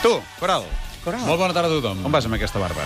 Tu, Coral. Coral. Molt bona tarda a tothom. On vas amb aquesta barba?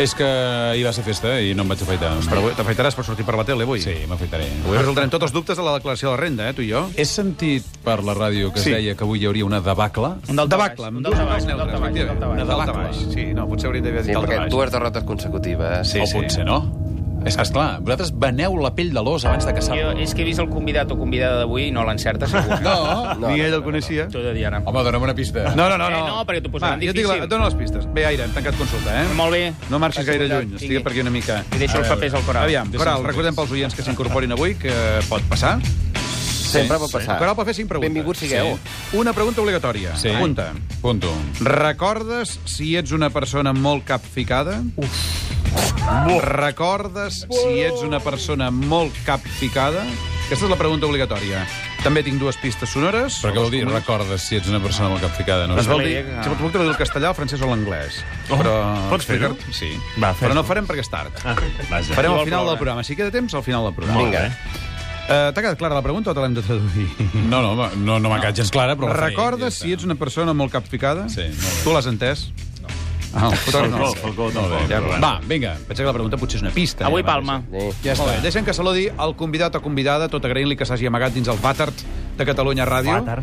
És que ahir va ser festa i no em vaig afaitar. Però avui t'afaitaràs per sortir per la tele avui. Sí, m'afaitaré. Avui resoldrem tots els dubtes de la declaració de renda, eh, tu i jo. He sentit per la ràdio que es Sí. deia que avui hi hauria una debacle. Un del tabacle. Un del tabaix, un del tabaix. un daltabaix. Un del tabaix. Sí, no, potser hauríem d'haver Sí, dit el perquè tabaix. dues derrotes consecutives. Sí, o sí. potser no. És que, esclar, vosaltres veneu la pell de l'os abans de Jo caçar-lo. és que he vist el convidat o convidada d'avui i no l'encerta segur. No. Ni ell el coneixia. T'ho he de dir ara. Home, dona'm una pista. No, no, no. Eh, no, perquè t'ho Va, posaran jo et dic la- difícil. Dóna les pistes. Bé, Aire, hem tancat consulta, eh? Molt bé. No marxis Passi gaire convidat, lluny, tingui. estigui per aquí una mica. Eh, I deixo els papers al Coral. Aviam, Deixa'm Coral, fer- recordem pels oients que s'incorporin avui que pot passar. Sempre pot passar. Coral pot fer cinc preguntes. Benvinguts Ah. sigueu. Sí. Una pregunta obligatòria. Sí. Pregunta. Punto. Recordes si ets una persona molt capficada? Uf. Recordes si ets una persona molt capficada? Aquesta és la pregunta obligatòria. També tinc dues pistes sonores. Però què vol dir? Recordes si ets una persona molt capficada, no? Doncs vol la dir, idea que- si pots traduir el castellà, el francès o l'anglès. Oh, però... pots fer-ho? explicar- Sí. Va, però fes-ho. no farem perquè és tard. Ah, vaja. Farem Igual al final plourà. del programa. Si queda temps, al final del programa. Vinga. Eh, T'ha quedat clara la pregunta o te l'hem de traduir? No, no, no, no, no m'ha quedat gens clara, però... la faré. Recordes Ja si està. ets una persona molt capficada? Sí, molt bé. Tu l'has entès? No. Ah, el fotògraf no. Falcó, Falcó, Molt bé. tampoc. Ja, Però Va, vinga. Pensa que la pregunta potser és una pista. Avui eh? Palma. Sí. Ja Molt està. bé, deixem que saludi el convidat o convidada, tot agraint-li que s'hagi amagat dins el vàtard de Catalunya Ràdio. Vàtard.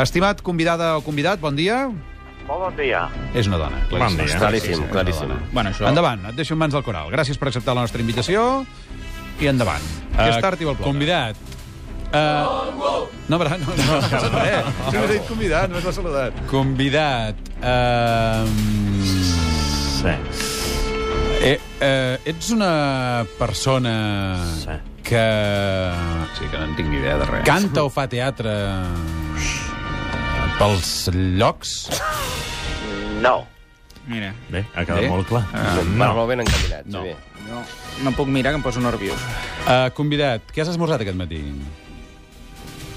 Estimat convidada o convidat, bon dia. Molt bon dia. És una dona. clar. Bon dia. Claríssim, claríssim. Bueno, això... Endavant, et deixo en mans del coral. Gràcies per acceptar la nostra invitació i endavant. Que és tard i vol ploure. Convidat. No, però no, no, no, no, no, no, Eh, dit convidat, no t'ha saludat. Convidat. Eh... Sí. Eh, eh, ets una persona Sí. que Sí que no en tinc ni idea de res. canta o fa teatre pels llocs? No. Mira, Bé, ha quedat Bé. molt clar. Va, molt Ah, ben encaminat, No. Xavier. no, no puc mirar, que em poso nerviós. Eh, convidat, què has esmorzat aquest matí?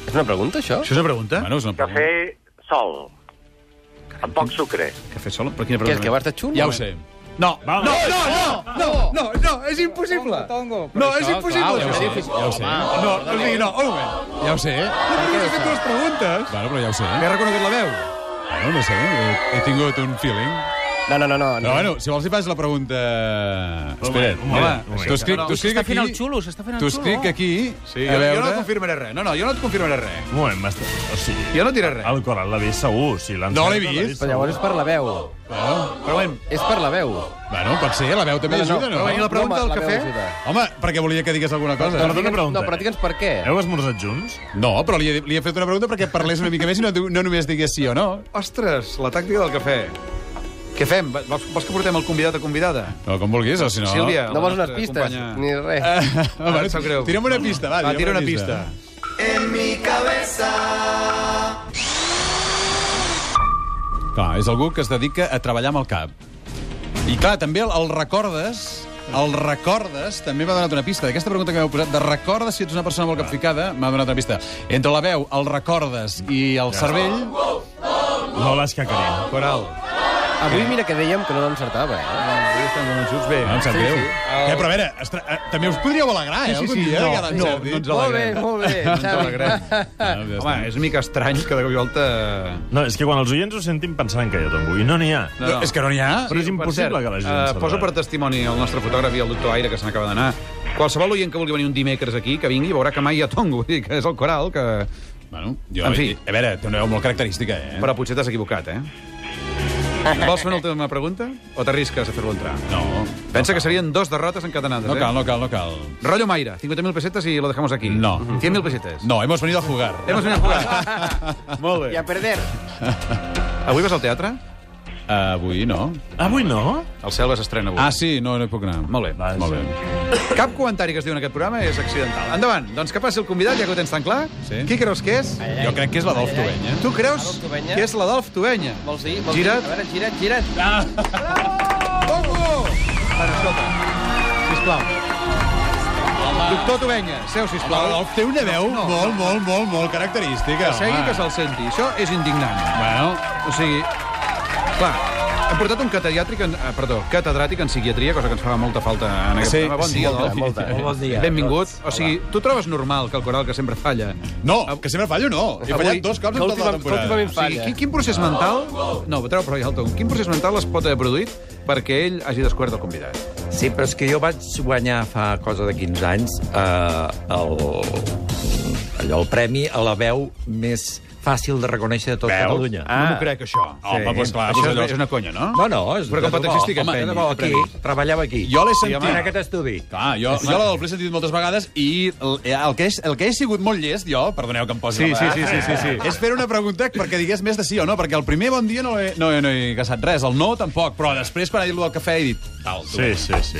És una pregunta, això? Això és una pregunta? Bueno, és una pregunta. Cafè sol. Amb poc sucre. Cafè sol? Però quina Què, el pregunta? que vas de eh? xul? Ja ho sé. No, no, Vale. no, no, no, no, no, és impossible. Tongo, No, però és això, impossible. Ja ho sé, això. ja ho sé. No, o sigui, no, un moment. Ja ho sé. No podries fer eh? dues preguntes. Bueno, però ja ho sé. M'he reconegut la veu. Bueno, Ah, no sé, eh? he, he tingut un feeling. No, no, no, no. Però bueno, si vols li fas la pregunta... Espera't, un home. moment, un moment. T'ho escric, No, no, t'ho escric S'està aquí... fent el xulo, s'està fent el T'ho xulo. escric aquí, Sí, a jo, veure... jo no et confirmaré res. No, no, jo no et confirmaré res. Un moment, m'està... O sigui, Jo no et diré res. el Coral l'ha vist segur. Si l'ha No l'he encertat, vist. Però llavors és per la veu. Bueno, Però bueno, És per la veu. Ah. bueno, pot ser, la veu també ajuda, no? Però i la pregunta home, del la cafè? veu ajuda. Home, perquè volia que digués alguna cosa. Perdona, Digue'ns- pregunta. No, però digue'ns per què. Heu esmorzat junts? No, però li he, li he fet una pregunta perquè parlés una mica més i no, diu- no només digués sí o no. ostres, la tàctica del cafè. Què fem? Va- Vols, vols que portem el convidat a convidada? No, com vulguis, o si no... Sílvia. No vols la unes nostra pistes, companya. ni res. Ah, Em sap greu. tira'm una pista, va. Va, tira'm tira una pista. Clar, és algú que es dedica a treballar amb el cap. I clar, també el, el recordes... El recordes també m'ha donat una pista. D'aquesta pregunta que m'heu posat, de recordes si ets una persona molt capficada, m'ha donat una pista. Entre la veu, el recordes i el cervell... No l'has cacarit. Coral. Avui mira que dèiem que no l'encertava, eh? Avui estem convençuts bé. No, Ah, em sap greu. Eh, però a veure, estra... eh, també us podríeu alegrar, eh? Sí, sí, algun sí, dia, no, que l'han no, sentit. no ens Molt bé, alegrem. molt bé, Xavi. Ah, Home, és una mica estrany que de cop i volta... No, és que quan els oients ho sentin pensaran que jo tongo. I no n'hi ha. No, és que no n'hi ha. Però és impossible Per que la gent eh, se'n poso per vegi. testimoni el nostre fotògraf i el doctor Aire, que se n'acaba d'anar. Qualsevol oient que vulgui venir un dimecres aquí, que vingui, veurà que mai hi ha tongo. Vull dir que és el coral, que... Bueno, jo, En fi. A veure, té una veu molt característica, eh? Però potser t'has equivocat, eh? Vols fer una última pregunta? O t'arrisques a fer-lo entrar? No. Pensa que serien dos derrotes encadenades, No eh? cal, no cal, no cal. Rollo Mayra, 50.000 pesetas y lo dejamos aquí. No. 100.000 pesetas. No, hemos venido a jugar. Hemos venido a jugar. Molt I a bé. perder. Avui vas al teatre? Uh, avui no. Avui no? El Selva s'estrena avui. Ah, sí, no, no hi puc anar. Molt bé. Vaja. Molt bé. Cap comentari que es diu en aquest programa és accidental. Endavant, doncs que passi el convidat, ja que ho tens tan clar. Sí. Qui creus que és? Jo crec que és l'Adolf Tubeny, eh? Tu creus Adolf Tubenya? que és l'Adolf Tubenya? Vols dir? Vols Gira't. Dir? A veure, gira't, gira't. Bongo! Bueno, escolta, sisplau. Doctor Tubenya, seu, sisplau. L'Adolf té una veu No, no. molt, molt, molt, molt característica. Que segui home. que se'l senti. Això és indignant. Bueno, O sigui, clar, Ha portat un catediàtric en, eh, perdó, catedràtic en psiquiatria, cosa que ens fa molta falta en aquest Sí, programa. Bon sí, dia, molta, Dol. molta. Eh, Bon dia a Benvingut. tots. O sigui, tu trobes normal que el coral que sempre falla? No, que sempre fallo, no. He fallat dos cops en tota la temporada. O sigui, quin, quin procés mental... No, treu però ja el ton. Quin procés mental es pot haver produït perquè ell hagi descobert el convidat? Sí, però és que jo vaig guanyar fa cosa de 15 anys eh, el, allò, el premi a la veu més fàcil de reconèixer de tot Veu? Catalunya. Ah. No m'ho crec, això. Home, doncs clar, això doncs allò- és, és una conya, no? No, no, és Però com de a taxista que et debò, home, de premi, debò, et aquí, premi. treballava aquí. Jo l'he sentit. En aquest estudi. Clar, jo, jo la del Ple he sentit moltes vegades i el, eh, el, que he, el que he sigut molt llest, jo, perdoneu que em posi Sí, la sí, vegada, sí, sí, sí, sí. és fer una pregunta perquè digués més de sí o no, perquè el primer bon dia no he, no, he- no he caçat res, el no tampoc, però després quan ha dit el del cafè he dit... Tal, tu. Sí, sí, sí.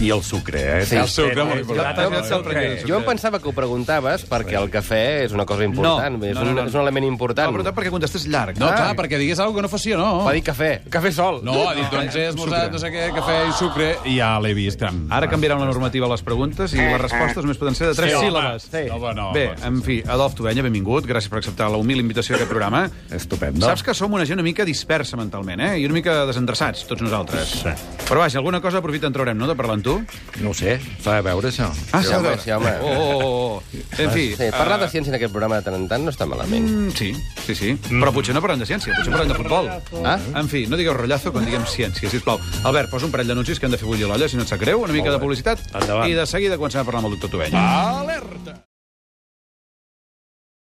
I el sucre, eh? El sucre, molt Jo- T'has important. jo- anat sorprenent, jo- sorprenent. Jo em pensava que ho preguntaves perquè el cafè és una cosa important. No, és, no, un, no, no. és un element No, important. però perquè contestes llarg. No, clar, perquè digués alguna que no fos sí o no. Va dir cafè. Cafè sol. No, ha dit, doncs he esmorzat, no sé què, cafè i sucre, i ja l'he vist. Amb... Ara canviaran la normativa a les preguntes i les respostes només poden ser de tres Sí, home. síl·labes. Sí. No, no, no. Bé, en fi, Adolf Tovella, benvingut. Gràcies per acceptar la humil invitació a aquest programa. Estupendo. No. Saps que som una gent una mica dispersa mentalment, eh? I una mica desendreçats, tots nosaltres. Sí. Però vaja, alguna cosa aprofita en traurem, no?, de parlar amb tu. No ho sé, s'ha de veure això. Ah, Sí, s'ha de home, veure. sí, home. Oh, oh, oh. En fi... Sí, parlar de ciència en aquest programa de tant en tant no està malament. Mm, Sí, sí, sí. Però Mm. potser no parlem de ciència, potser parlem de futbol. Ah? En fi, no digueu rotllazo quan diguem ciència, sisplau. Albert, posa un parell d'anuncis que hem de fer bullir l'olla, si no et sap greu, una mica de publicitat. Endavant. I de seguida comencem a parlar amb el doctor Tovella.